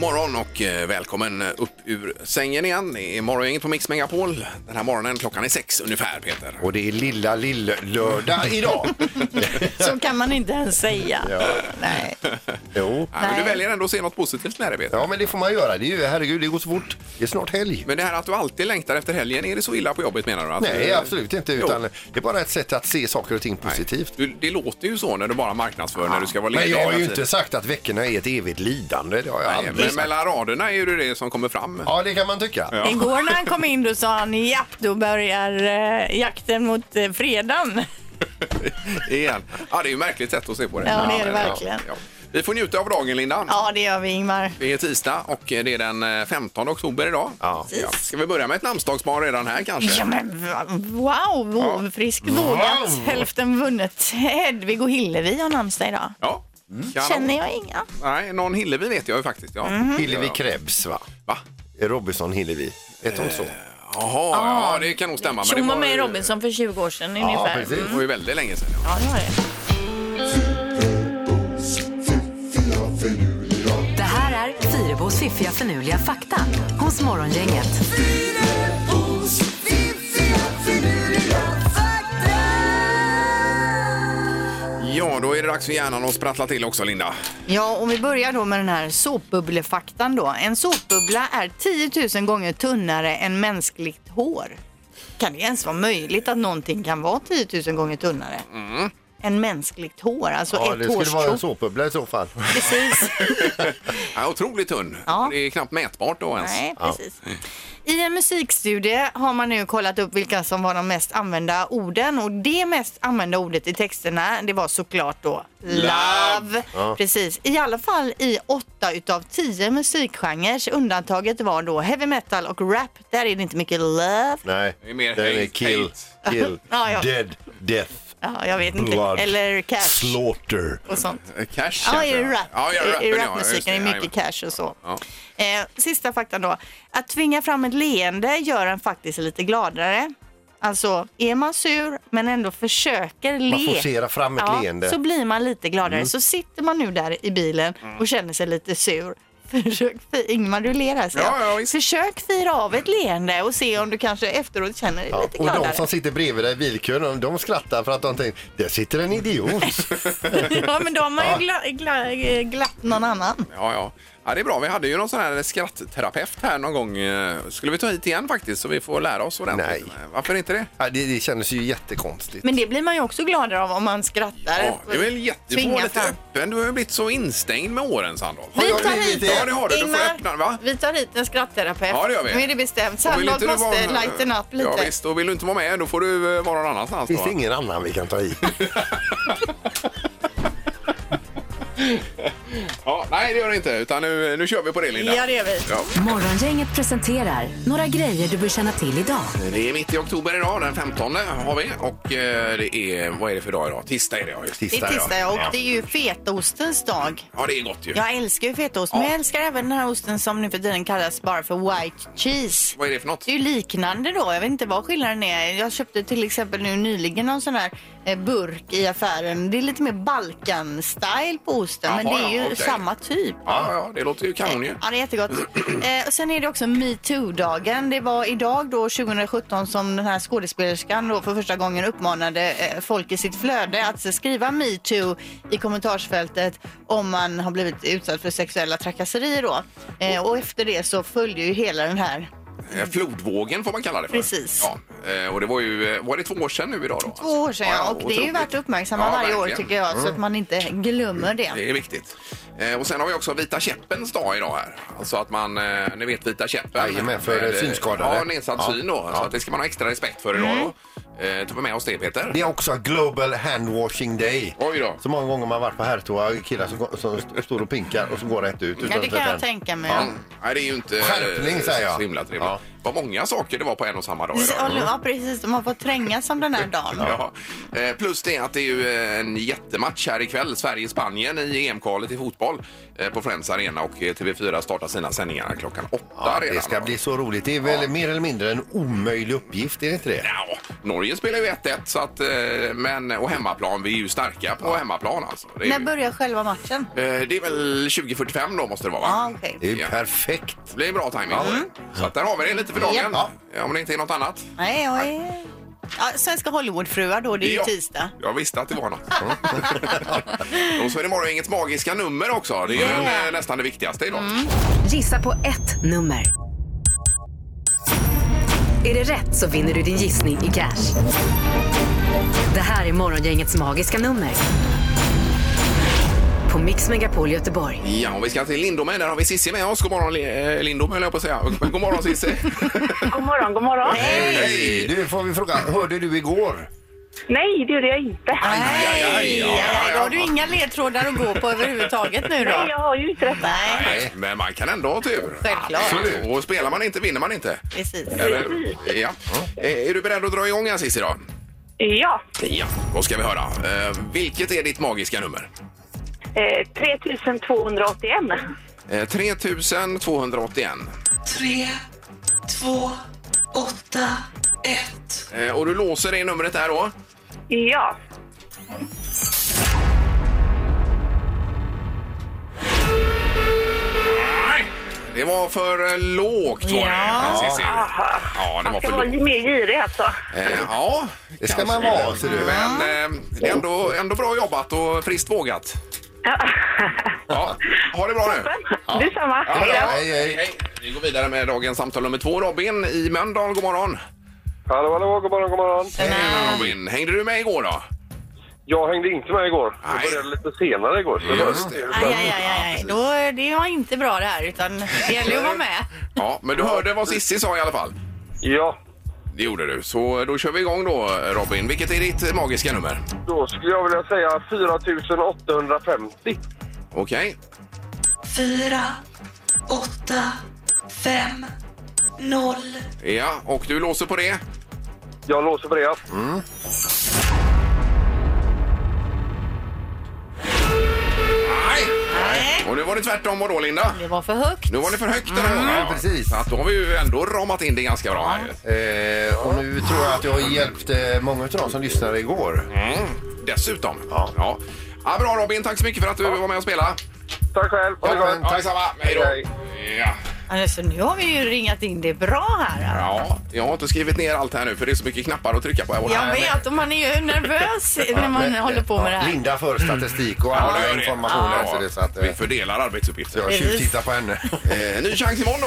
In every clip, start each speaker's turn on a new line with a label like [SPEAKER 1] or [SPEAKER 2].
[SPEAKER 1] morgon och eh, välkommen upp ur sängen igen. Det är morgongänget på Mix Megapol. Den här morgonen klockan är sex ungefär, Peter.
[SPEAKER 2] Och det är lilla lill-lördag idag.
[SPEAKER 3] Så kan man inte ens säga. Nej.
[SPEAKER 1] Ja,
[SPEAKER 2] jo.
[SPEAKER 1] men du
[SPEAKER 3] Nej.
[SPEAKER 1] väljer ändå att se något positivt med det, Peter.
[SPEAKER 2] Ja, men det får man göra. Det är ju, herregud, det går så fort. Det är snart helg.
[SPEAKER 1] Men det här att du alltid längtar efter helgen, är det så illa på jobbet menar du? Att,
[SPEAKER 2] Nej,
[SPEAKER 1] eh,
[SPEAKER 2] absolut inte.
[SPEAKER 1] Jo.
[SPEAKER 2] Utan det är bara ett sätt att se saker och ting positivt.
[SPEAKER 1] Du, det låter ju så när du bara marknadsför när du ska vara ledig
[SPEAKER 2] Men jag har
[SPEAKER 1] hela
[SPEAKER 2] ju
[SPEAKER 1] tiden.
[SPEAKER 2] inte sagt att veckorna är ett evigt lidande. Det har jag
[SPEAKER 1] Nej,
[SPEAKER 2] aldrig
[SPEAKER 1] men
[SPEAKER 2] sagt.
[SPEAKER 1] mellan raderna är ju det som kommer fram.
[SPEAKER 2] Ja, det kan man tycka.
[SPEAKER 1] Ja.
[SPEAKER 3] Igår när han kom in då sa han japp, då börjar eh, jakten mot eh, fredagen.
[SPEAKER 1] Igen. Ja, det är ju ett märkligt sätt att se på det.
[SPEAKER 3] Ja, det är det
[SPEAKER 1] men,
[SPEAKER 3] verkligen.
[SPEAKER 1] Vi får njuta av dagen, Linda.
[SPEAKER 3] Ja, det gör vi Ingmar.
[SPEAKER 1] Det är tisdag och det är den eh, 15 oktober idag.
[SPEAKER 2] Ja.
[SPEAKER 1] Ska vi börja med ett namnsdagsbarn redan här kanske?
[SPEAKER 3] Ja men va- wow, vågfrisk, vågat,
[SPEAKER 2] Wow.
[SPEAKER 3] hälften vunnet. Hedvig och Hillevi har namnsdag idag.
[SPEAKER 1] Ja. Kanon.
[SPEAKER 3] Känner Mhm. jag inga?
[SPEAKER 1] Nej, någon Hillevi vet jag ju faktiskt. Ja.
[SPEAKER 2] Hillevi Krebs, va?
[SPEAKER 1] Va?
[SPEAKER 2] Robinson Hillevi. Ett hon så?
[SPEAKER 1] Jaha, ja, det kan nog stämma. men
[SPEAKER 3] Hon
[SPEAKER 1] det
[SPEAKER 3] var med i
[SPEAKER 1] ju-
[SPEAKER 3] Robinson för 20 år sedan ungefär.
[SPEAKER 2] precis.
[SPEAKER 1] Det var ju väldigt länge sedan. Ja.
[SPEAKER 3] Ja, det var det.
[SPEAKER 4] Det här är Fyrabos fiffiga förnuliga fakta hos Morgongänget.
[SPEAKER 1] ja, då är det dags för hjärnan att sprattla till också, Linda.
[SPEAKER 3] Ja, om vi börjar då med den här såpbubblefaktan då. En såpbubbla är 10 000 gånger tunnare än mänskligt hår. Kan det ens vara möjligt att någonting kan vara 10 000 gånger tunnare? Än mänskligt hår, alltså
[SPEAKER 2] Mm. Ja, det
[SPEAKER 3] ett
[SPEAKER 2] skulle vara en
[SPEAKER 3] hårstrå.
[SPEAKER 2] såpbubbla i så fall.
[SPEAKER 3] Precis.
[SPEAKER 1] Ja, otroligt tunn.
[SPEAKER 3] Ja.
[SPEAKER 1] Det är knappt mätbart då ens.
[SPEAKER 3] Nej, precis. I en musikstudie har man nu kollat upp vilka som var de mest använda orden och det mest använda ordet i texterna det var såklart då love. Precis, i alla fall i åtta utav tio musikgenrer. Undantaget var då heavy metal och rap. Där är det inte mycket love.
[SPEAKER 2] Nej,
[SPEAKER 1] Det är mer
[SPEAKER 2] den
[SPEAKER 1] hate,
[SPEAKER 2] är kill,
[SPEAKER 1] hate.
[SPEAKER 2] kill,
[SPEAKER 3] Ja, ja.
[SPEAKER 2] dead, death,
[SPEAKER 3] Ja, jag vet inte.
[SPEAKER 2] blood,
[SPEAKER 3] Eller cash
[SPEAKER 2] slaughter.
[SPEAKER 3] och sånt.
[SPEAKER 1] Eh, Cash
[SPEAKER 3] Ja,
[SPEAKER 1] kanske,
[SPEAKER 3] i rap.
[SPEAKER 1] Ja, ja, rappen,
[SPEAKER 3] I
[SPEAKER 1] ja, just
[SPEAKER 3] rapmusiken är mycket
[SPEAKER 1] jajamän.
[SPEAKER 3] cash och så.
[SPEAKER 1] Ja.
[SPEAKER 3] Eh, sista faktan då. Att tvinga fram ett leende gör en faktiskt lite gladare. Alltså, är man sur men ändå försöker le.
[SPEAKER 2] Man forcerar fram ett leende.
[SPEAKER 3] Så blir man lite gladare. Så sitter man nu där i bilen och känner sig lite sur. Försök, fi- Ingmar, du ler här ser
[SPEAKER 1] Ja,
[SPEAKER 3] jag.
[SPEAKER 1] ja, visst.
[SPEAKER 3] Försök fira av ett leende och se om du kanske efteråt känner dig
[SPEAKER 2] Ja,
[SPEAKER 3] lite
[SPEAKER 2] och
[SPEAKER 3] gladare.
[SPEAKER 2] de som sitter bredvid dig i bilkön, de- de skrattar för att de tänker, där sitter en idiot.
[SPEAKER 3] ja, men de har ju gla- gla- glatt någon annan.
[SPEAKER 1] Ja, ja. ja, det är bra. Vi hade ju någon sån här skrattterapeut här någon gång. eh, Skulle vi ta hit igen faktiskt så vi får lära oss ordentligt?
[SPEAKER 2] Nej.
[SPEAKER 1] Varför inte det?
[SPEAKER 2] Ja, det, det kändes ju jättekonstigt.
[SPEAKER 3] Men det blir man ju också gladare av om man skrattar.
[SPEAKER 1] Ja, det är väl jättebra
[SPEAKER 3] Tvinga
[SPEAKER 1] lite
[SPEAKER 3] fram.
[SPEAKER 1] öppen. Du har ju blivit så instängd med åren, Sandholt.
[SPEAKER 2] Har
[SPEAKER 3] Vi
[SPEAKER 2] jag
[SPEAKER 3] tar
[SPEAKER 2] blivit
[SPEAKER 3] hit
[SPEAKER 2] det?
[SPEAKER 1] Ja, det har du. Du får
[SPEAKER 3] Ingmar,
[SPEAKER 1] öppna, va?
[SPEAKER 3] Vi tar hit en skrattterapeut.
[SPEAKER 1] Ja, det gör vi.
[SPEAKER 3] Nu är det bestämt.
[SPEAKER 1] Och vill
[SPEAKER 3] Sandholt
[SPEAKER 1] inte du
[SPEAKER 3] måste
[SPEAKER 1] vara-
[SPEAKER 3] lighten up lite.
[SPEAKER 1] Ja, visst, och vill du inte vara med då får du eh, vara någon annanstans.
[SPEAKER 2] Finns
[SPEAKER 1] då,
[SPEAKER 2] det
[SPEAKER 1] va?
[SPEAKER 2] ingen annan vi kan ta hit?
[SPEAKER 1] Ja, nej, det gör det inte. Utan nu, nu kör vi på det, Linda.
[SPEAKER 3] Ja, det gör vi.
[SPEAKER 1] Ja.
[SPEAKER 4] Morgongänget presenterar några grejer du bör känna till idag.
[SPEAKER 1] Det är mitt i oktober idag, den 15 har vi. Och eh, det är, vad är det för dag idag? Tisdag är det, ja. Just.
[SPEAKER 3] Det är
[SPEAKER 2] Tisdag,
[SPEAKER 3] tisdag
[SPEAKER 2] ja.
[SPEAKER 3] och det är ju fetaostens dag.
[SPEAKER 1] Ja, det är gott ju.
[SPEAKER 3] Jag älskar ju fetaost, men jag älskar även den här osten som nu för tiden kallas bara för white cheese.
[SPEAKER 1] Vad är det för något?
[SPEAKER 3] Det är ju liknande då. Jag vet inte vad skillnaden är. Jag köpte till exempel nu nyligen någon sån här eh, burk i affären. Det är lite mer Balkan-style på osten, men
[SPEAKER 1] Jaha,
[SPEAKER 3] det är ju
[SPEAKER 1] ja, okej.
[SPEAKER 3] samma typ.
[SPEAKER 1] Ja, ja, det låter ju kanon ju.
[SPEAKER 3] Ja, det är jättegott. Eh, och sen är det också metoo-dagen. Det var idag då 2017 som den här skådespelerskan då för första gången uppmanade eh, folk i sitt flöde att skriva metoo i kommentarsfältet om man har blivit utsatt för sexuella trakasserier då. Eh, och efter det så följde ju hela den här
[SPEAKER 1] Eh, Flodvågen får man kalla det för.
[SPEAKER 3] Precis.
[SPEAKER 1] Ja, eh, och det var ju, eh, var det två år sedan nu idag då?
[SPEAKER 3] två år sedan. Ja, och det är ju
[SPEAKER 1] Alltså, otroligt.
[SPEAKER 3] värt att uppmärksamma
[SPEAKER 1] Ja,
[SPEAKER 3] varje år
[SPEAKER 1] verkligen. Mm.
[SPEAKER 3] tycker jag så att man inte glömmer det.
[SPEAKER 1] Det är viktigt. Eh, och sen har vi också Vita käppens dag idag här. Alltså att man, eh, ni vet Vita käppen.
[SPEAKER 2] Jajamän, för,
[SPEAKER 1] Med,
[SPEAKER 2] eh, synskadade.
[SPEAKER 1] Ja, nedsatt
[SPEAKER 2] Ja.
[SPEAKER 1] syn då. Så att det ska man ha extra respekt för idag då.
[SPEAKER 3] Mm.
[SPEAKER 1] Eh, tar vi med oss det Peter.
[SPEAKER 2] Det är också Global Handwashing Day.
[SPEAKER 1] Oj då.
[SPEAKER 2] Så många gånger man varit på herrtoa, killar som, går- som st- står och pinkar och så går rätt ut. utan
[SPEAKER 3] Ja, det
[SPEAKER 2] att
[SPEAKER 3] kan
[SPEAKER 2] sätta
[SPEAKER 3] jag
[SPEAKER 2] en-
[SPEAKER 3] tänka mig.
[SPEAKER 1] Ja. Nej, det är ju inte eh,
[SPEAKER 2] Skärpning, säger jag.
[SPEAKER 1] så himla trevligt.
[SPEAKER 2] Ja.
[SPEAKER 1] Vad många saker det var på en och samma dag idag.
[SPEAKER 3] Ja, precis. De har fått trängas om den här dagen.
[SPEAKER 1] Ja. Eh, Plus det att det är ju eh, en jättematch här ikväll. Sverige-Spanien i EM-kvalet i fotboll eh, på Friends Arena och eh, TV4 startar sina sändningar klockan åtta
[SPEAKER 2] Ja,
[SPEAKER 1] redan.
[SPEAKER 2] det ska
[SPEAKER 1] då.
[SPEAKER 2] bli så roligt. Det är väl mer eller mindre en omöjlig uppgift, är det inte det?
[SPEAKER 1] Ja, Norge spelar ju 1-1 så att, eh, men, och hemmaplan, vi är ju starka på hemmaplan alltså. Det är,
[SPEAKER 3] När
[SPEAKER 1] ju-
[SPEAKER 3] börjar själva matchen?
[SPEAKER 1] eh, det är väl 20.45 då måste det vara va?
[SPEAKER 3] Ja, okej.
[SPEAKER 2] Det är ju
[SPEAKER 1] Ja.
[SPEAKER 2] perfekt.
[SPEAKER 1] Det blir bra timing. på det. Så att där har vi det lite för dagen.
[SPEAKER 3] Ja.
[SPEAKER 1] Ja, Om det inte är något annat.
[SPEAKER 3] Nej, jag är... Ja, svenska Hollywoodfruar då, det är ju
[SPEAKER 1] Ja.
[SPEAKER 3] tisdag.
[SPEAKER 1] Jag visste att det var något. och så är det morgongängets magiska nummer också. Det är ju
[SPEAKER 3] Yeah.
[SPEAKER 1] eh, nästan det viktigaste idag.
[SPEAKER 3] Mm.
[SPEAKER 4] Gissa på ett nummer. Är det rätt så vinner du din gissning i cash. Det här är Morgongängets magiska nummer. På Mix Megapol Göteborg.
[SPEAKER 1] Ja, och vi ska till Lindome. Där har vi Sissi med oss. God morgon Li- eh, Lindome höll jag på att säga. God morgon Sissi.
[SPEAKER 5] God morgon, god morgon.
[SPEAKER 2] Hej! Du, får vi fråga, hörde du igår?
[SPEAKER 5] Nej, det gjorde jag inte.
[SPEAKER 1] aj, aj, aj, aj.
[SPEAKER 3] Då har du inga ledtrådar att gå på överhuvudtaget nu
[SPEAKER 5] Nej, jag
[SPEAKER 3] då?
[SPEAKER 5] har ju inte detta.
[SPEAKER 3] Nej,
[SPEAKER 1] Nej, men man kan ändå ha tur.
[SPEAKER 3] Självklart.
[SPEAKER 1] Absolut. Och spelar man inte vinner man inte.
[SPEAKER 3] precis.
[SPEAKER 1] Eller, ja. Eh, Är du beredd att dra igång här Cissi då?
[SPEAKER 5] Ja,
[SPEAKER 1] Ja. Då ska vi höra. Eh, vilket är ditt magiska nummer?
[SPEAKER 5] eh, 3281.
[SPEAKER 1] Eh, 3281.
[SPEAKER 6] 3, 2, 8, 1.
[SPEAKER 1] Eh, och du låser det numret där då?
[SPEAKER 5] Ja,
[SPEAKER 1] Nej! Det var för eh, lågt var det.
[SPEAKER 3] Ja.
[SPEAKER 1] Cissi.
[SPEAKER 5] aha.
[SPEAKER 1] Ja, det var
[SPEAKER 5] Man ska
[SPEAKER 1] för
[SPEAKER 5] vara
[SPEAKER 1] lågt.
[SPEAKER 5] lite mer girig alltså.
[SPEAKER 1] Eh, ja,
[SPEAKER 2] Det ska man vara, ser du.
[SPEAKER 1] men eh, det är ändå, ändå bra jobbat och friskt vågat.
[SPEAKER 5] Ja.
[SPEAKER 1] Ja, ha det bra nu.
[SPEAKER 5] Detsamma.
[SPEAKER 1] Ja,
[SPEAKER 5] Hej då.
[SPEAKER 2] Hej, hej.
[SPEAKER 1] Vi går vidare med dagens samtal nummer två. Robin i Mölndal, god morgon.
[SPEAKER 7] Hallå, hallå, god morgon, god morgon.
[SPEAKER 1] Hej Robin, hängde du med igår då?
[SPEAKER 7] Jag hängde inte med igår. Jag
[SPEAKER 1] Nej.
[SPEAKER 7] började lite senare igår. Så det var-
[SPEAKER 1] Just det.
[SPEAKER 3] Aj, aj, aj, aj. Då, det var inte bra det här, utan det gäller ju att vara med.
[SPEAKER 1] Ja, men du hörde vad Sissi sa i alla fall.
[SPEAKER 7] Ja,
[SPEAKER 1] Det gjorde du. Så då kör vi igång då Robin. Vilket är ditt magiska nummer?
[SPEAKER 7] då skulle jag vilja säga 4850.
[SPEAKER 1] Okej.
[SPEAKER 6] 4, 8, 5, 0.
[SPEAKER 1] Ja, och du låser på det?
[SPEAKER 7] Jag låser på det.
[SPEAKER 1] Mm. Nej! Och nu var det tvärtom och då Linda?
[SPEAKER 3] Det var för högt. Mm.
[SPEAKER 1] Nu var det för högt den här gången.
[SPEAKER 2] Ja, precis.
[SPEAKER 1] Så att då har vi ju ändå ramat in det ganska bra här.
[SPEAKER 2] Eh, och nu tror jag att jag har hjälpt eh, många av dem som lyssnade igår.
[SPEAKER 1] Mm. Dessutom.
[SPEAKER 2] Ja.
[SPEAKER 1] Ja. Ja, bra Robin, tack så mycket för att du var med och spelade.
[SPEAKER 7] Tack själv. Ha det
[SPEAKER 2] Ja,
[SPEAKER 7] gott.
[SPEAKER 2] men tack.
[SPEAKER 1] detsamma. Hej
[SPEAKER 7] Hej.
[SPEAKER 1] då. Ja.
[SPEAKER 3] Alltså, nu har vi ju ringat in det bra här.
[SPEAKER 1] Ja, jag har inte skrivit ner allt här nu för det är så mycket knappar att trycka på. här borta.
[SPEAKER 3] Jag vet, och man är ju nervös när man
[SPEAKER 2] Men, eh,
[SPEAKER 3] håller på med det
[SPEAKER 2] ja,
[SPEAKER 3] här.
[SPEAKER 2] Linda för statistik
[SPEAKER 1] Ja,
[SPEAKER 2] och
[SPEAKER 1] det
[SPEAKER 2] alla
[SPEAKER 1] gör det.
[SPEAKER 2] informationer.
[SPEAKER 1] Ja.
[SPEAKER 2] Så det, så att, eh,
[SPEAKER 1] Vi fördelar arbetsuppgifter.
[SPEAKER 2] jag tjuvtittar på henne.
[SPEAKER 1] Eh, ny chans imorgon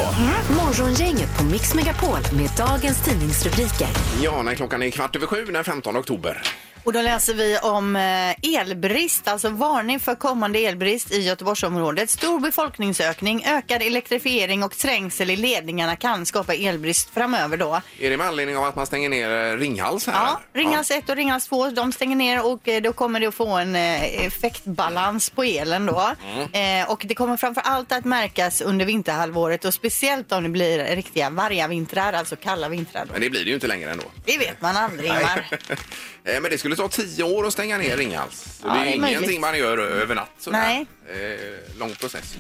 [SPEAKER 1] då.
[SPEAKER 4] Morgongänget på Mix Megapol med dagens tidningsrubriker.
[SPEAKER 1] Ja, när klockan är kvart över sju den 15 oktober.
[SPEAKER 3] Och då läser vi om eh, elbrist, alltså varning för kommande elbrist i Göteborgsområdet. Stor befolkningsökning, ökad elektrifiering och trängsel i ledningarna kan skapa elbrist framöver då.
[SPEAKER 1] Är det med anledning av att man stänger ner eh, Ringhals här?
[SPEAKER 3] Ja, Ringhals 1 och Ringhals 2, de stänger ner och eh, då kommer det att få en eh, effektbalans på elen då. Eh, och det kommer framför allt att märkas under vinterhalvåret och speciellt om det blir riktiga vargavintrar, alltså kalla vintrar. Då.
[SPEAKER 1] Men det blir det ju inte längre ändå.
[SPEAKER 3] Det vet man aldrig, Ingmar.
[SPEAKER 1] Eh, Men det skulle ta tio år att stänga ner Ringhals. Så
[SPEAKER 3] Ja,
[SPEAKER 1] det är
[SPEAKER 3] det är
[SPEAKER 1] ju
[SPEAKER 3] möjligt.
[SPEAKER 1] ingenting man gör ö- över natt. sådär.
[SPEAKER 3] Nej. Mm.
[SPEAKER 1] Eh, lång process.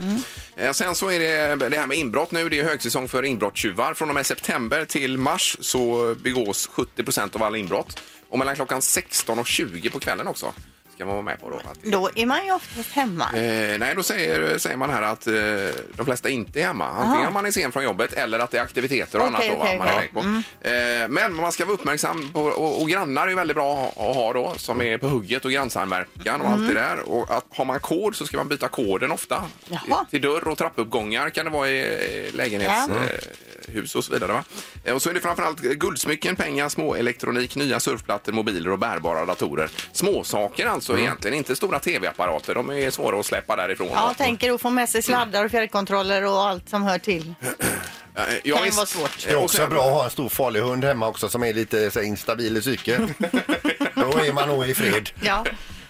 [SPEAKER 1] Eh, sen så är det det här med inbrott nu. Det är högsäsong för inbrottstjuvar. Från och med september till mars så begås 70 av alla inbrott. Och mellan klockan 16 och 20 på kvällen också ska man vara med på då. Att
[SPEAKER 3] Då är man ju oftast hemma.
[SPEAKER 1] Eh, nej, då säger, säger man här att eh, de flesta inte är hemma. Antingen man är sen från jobbet eller att det är aktiviteter och
[SPEAKER 3] Okej,
[SPEAKER 1] annat då, va,
[SPEAKER 3] okej, Mm.
[SPEAKER 1] man är
[SPEAKER 3] okej.
[SPEAKER 1] iväg på. Eh, men man ska vara uppmärksam på, och, och grannar är väldigt bra att ha då, som är på hugget och grannsamverkan och
[SPEAKER 3] Mm.
[SPEAKER 1] allt det där. Och att, har man kod så ska man byta koden ofta.
[SPEAKER 3] Jaha.
[SPEAKER 1] Till dörr och trappuppgångar kan det vara i lägenhetshus eh, hus och så vidare. Va? Eh, Och så är det framförallt guldsmycken, pengar, småelektronik, nya surfplattor, mobiler och bärbara datorer. Småsaker alltså
[SPEAKER 2] Mm.
[SPEAKER 1] egentligen, inte stora tv-apparater. De är svåra att släppa därifrån.
[SPEAKER 3] Ja, tänker att få med sig sladdar och fjärrkontroller och allt som hör till.
[SPEAKER 1] Eh, ja,
[SPEAKER 3] kan ju
[SPEAKER 1] visst.
[SPEAKER 3] vara svårt.
[SPEAKER 2] Det är
[SPEAKER 1] Eh, och
[SPEAKER 2] också
[SPEAKER 1] sen-
[SPEAKER 2] bra att ha en stor farlig hund hemma också som är lite så här, instabil i psyket. Då är man nog i fred.
[SPEAKER 3] Ja.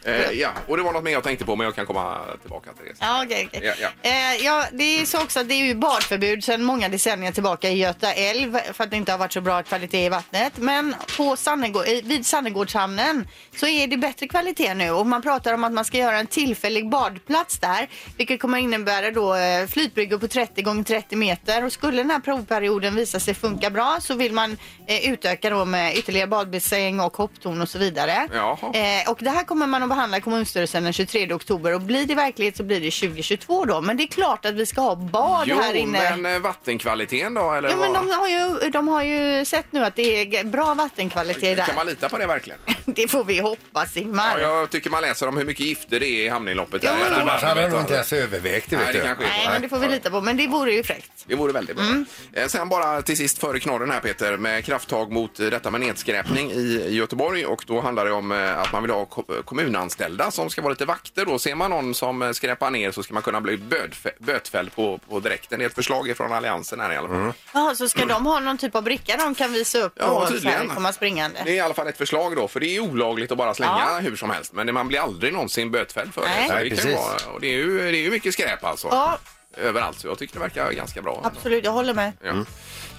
[SPEAKER 1] Eh, ja, och det var något mer jag tänkte på, men jag kan komma tillbaka till det. sen.
[SPEAKER 3] Ja, okej, okej.
[SPEAKER 1] Ja, ja.
[SPEAKER 3] Eh, ja, det är ju så också att det är ju badförbud sedan många decennier tillbaka i Göta älv för att det inte har varit så bra kvalitet i vattnet. Men på Sannegå- eh, vid Sannegårdshamnen så är det bättre kvalitet nu och man pratar om att man ska göra en tillfällig badplats där vilket kommer innebära då eh, flytbryggor på 30 gånger 30 meter och skulle den här provperioden visa sig funka bra så vill man eh, utöka då med ytterligare badbassäng och hopptorn och så vidare.
[SPEAKER 1] Jaha.
[SPEAKER 3] Eh, och det här kommer man att behandla i kommunstyrelsen den 23 oktober och blir det verklighet så blir det 2022 då. Men det är klart att vi ska ha bad
[SPEAKER 1] Jo,
[SPEAKER 3] här inne.
[SPEAKER 1] men eh, vattenkvaliteten då? Eller
[SPEAKER 3] Ja, men
[SPEAKER 1] vad?
[SPEAKER 3] de har, ju, de har ju sett nu att det är g- bra vattenkvalitet där.
[SPEAKER 1] Kan man lita på det verkligen?
[SPEAKER 3] Det får vi hoppas,
[SPEAKER 1] Ja,
[SPEAKER 3] Ingmar.
[SPEAKER 1] jag tycker man läser om hur mycket gifter det är i hamninloppet.
[SPEAKER 3] Jo,
[SPEAKER 1] här.
[SPEAKER 3] jo, jo.
[SPEAKER 2] Annars hade jag nog inte ens övervägt det.
[SPEAKER 1] Nej,
[SPEAKER 2] Vet
[SPEAKER 1] det
[SPEAKER 2] du.
[SPEAKER 1] kanske är så.
[SPEAKER 3] Nej, men det får vi lita på. Men det vore ju fräckt.
[SPEAKER 1] Det vore väldigt bra.
[SPEAKER 3] Mm.
[SPEAKER 1] Eh, Sen bara till sist före knorren här Peter med krafttag mot eh, detta med nedskräpning i Göteborg och då handlar det om eh, att man vill ha ko- kommunanställda som ska vara lite vakter då. Ser man någon som eh, skräpar ner så ska man kunna bli bödf- bötfälld på, på direkten. Det är ett förslag från Alliansen här i alla fall.
[SPEAKER 2] Mm.
[SPEAKER 3] Jaha, så ska de ha någon typ av bricka de kan visa upp
[SPEAKER 1] Mm. Ja,
[SPEAKER 3] och så
[SPEAKER 1] tydligen.
[SPEAKER 3] här komma springande?
[SPEAKER 1] Det är i alla fall ett förslag då, för det är olagligt att bara slänga
[SPEAKER 3] Ja.
[SPEAKER 1] hur som helst. Men man blir aldrig någonsin bötfälld för
[SPEAKER 3] Nej.
[SPEAKER 1] det. Så
[SPEAKER 2] Nej,
[SPEAKER 1] det, kan ju
[SPEAKER 2] precis.
[SPEAKER 1] vara, och det, är ju, det är ju mycket skräp alltså.
[SPEAKER 3] Ja.
[SPEAKER 1] Överallt, så jag tycker det verkar ganska bra. ändå.
[SPEAKER 3] Absolut, jag håller med.
[SPEAKER 1] Ja.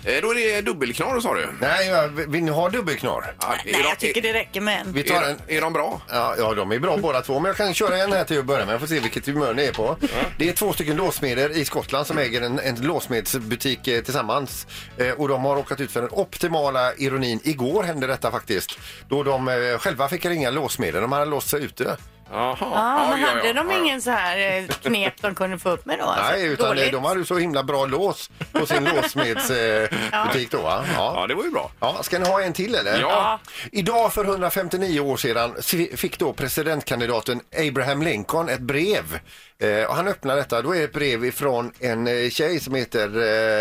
[SPEAKER 1] Eh, Då är det dubbelknorr sa du?
[SPEAKER 2] Nej, va, vill ni ha dubbelknar?
[SPEAKER 1] Ja, är
[SPEAKER 3] Nej,
[SPEAKER 1] de-
[SPEAKER 3] jag tycker det räcker med en.
[SPEAKER 2] Vi tar
[SPEAKER 1] Är,
[SPEAKER 2] en.
[SPEAKER 1] är de bra?
[SPEAKER 2] Ja, ja, de är bra båda två, men jag kan köra en här till att börja med. Jag får se vilket humör ni är på. Det är två stycken låssmeder i Skottland som äger en, en låssmedsbutik eh, tillsammans. Eh, och de har råkat ut för den optimala ironin. Igår hände detta faktiskt. Då de eh, själva fick ringa låssmeden. De hade låst sig ute.
[SPEAKER 1] Jaha.
[SPEAKER 3] Ja,
[SPEAKER 1] Ja,
[SPEAKER 3] men
[SPEAKER 1] ja,
[SPEAKER 3] hade
[SPEAKER 1] ja,
[SPEAKER 3] de
[SPEAKER 1] ja.
[SPEAKER 3] ingen så här eh, knep de kunde få upp med då? Alltså,
[SPEAKER 2] Nej, utan eh,
[SPEAKER 3] dåligt.
[SPEAKER 2] de hade ju så himla bra lås på sin låssmedsbutik eh, butik då. Va?
[SPEAKER 1] Ja, det var ju bra.
[SPEAKER 2] Ja, ska ni ha en till eller?
[SPEAKER 1] Ja.
[SPEAKER 2] Idag för 159 år sedan si- fick då presidentkandidaten Abraham Lincoln ett brev. Eh, och han öppnar detta. Då är det ett brev ifrån en eh, tjej som heter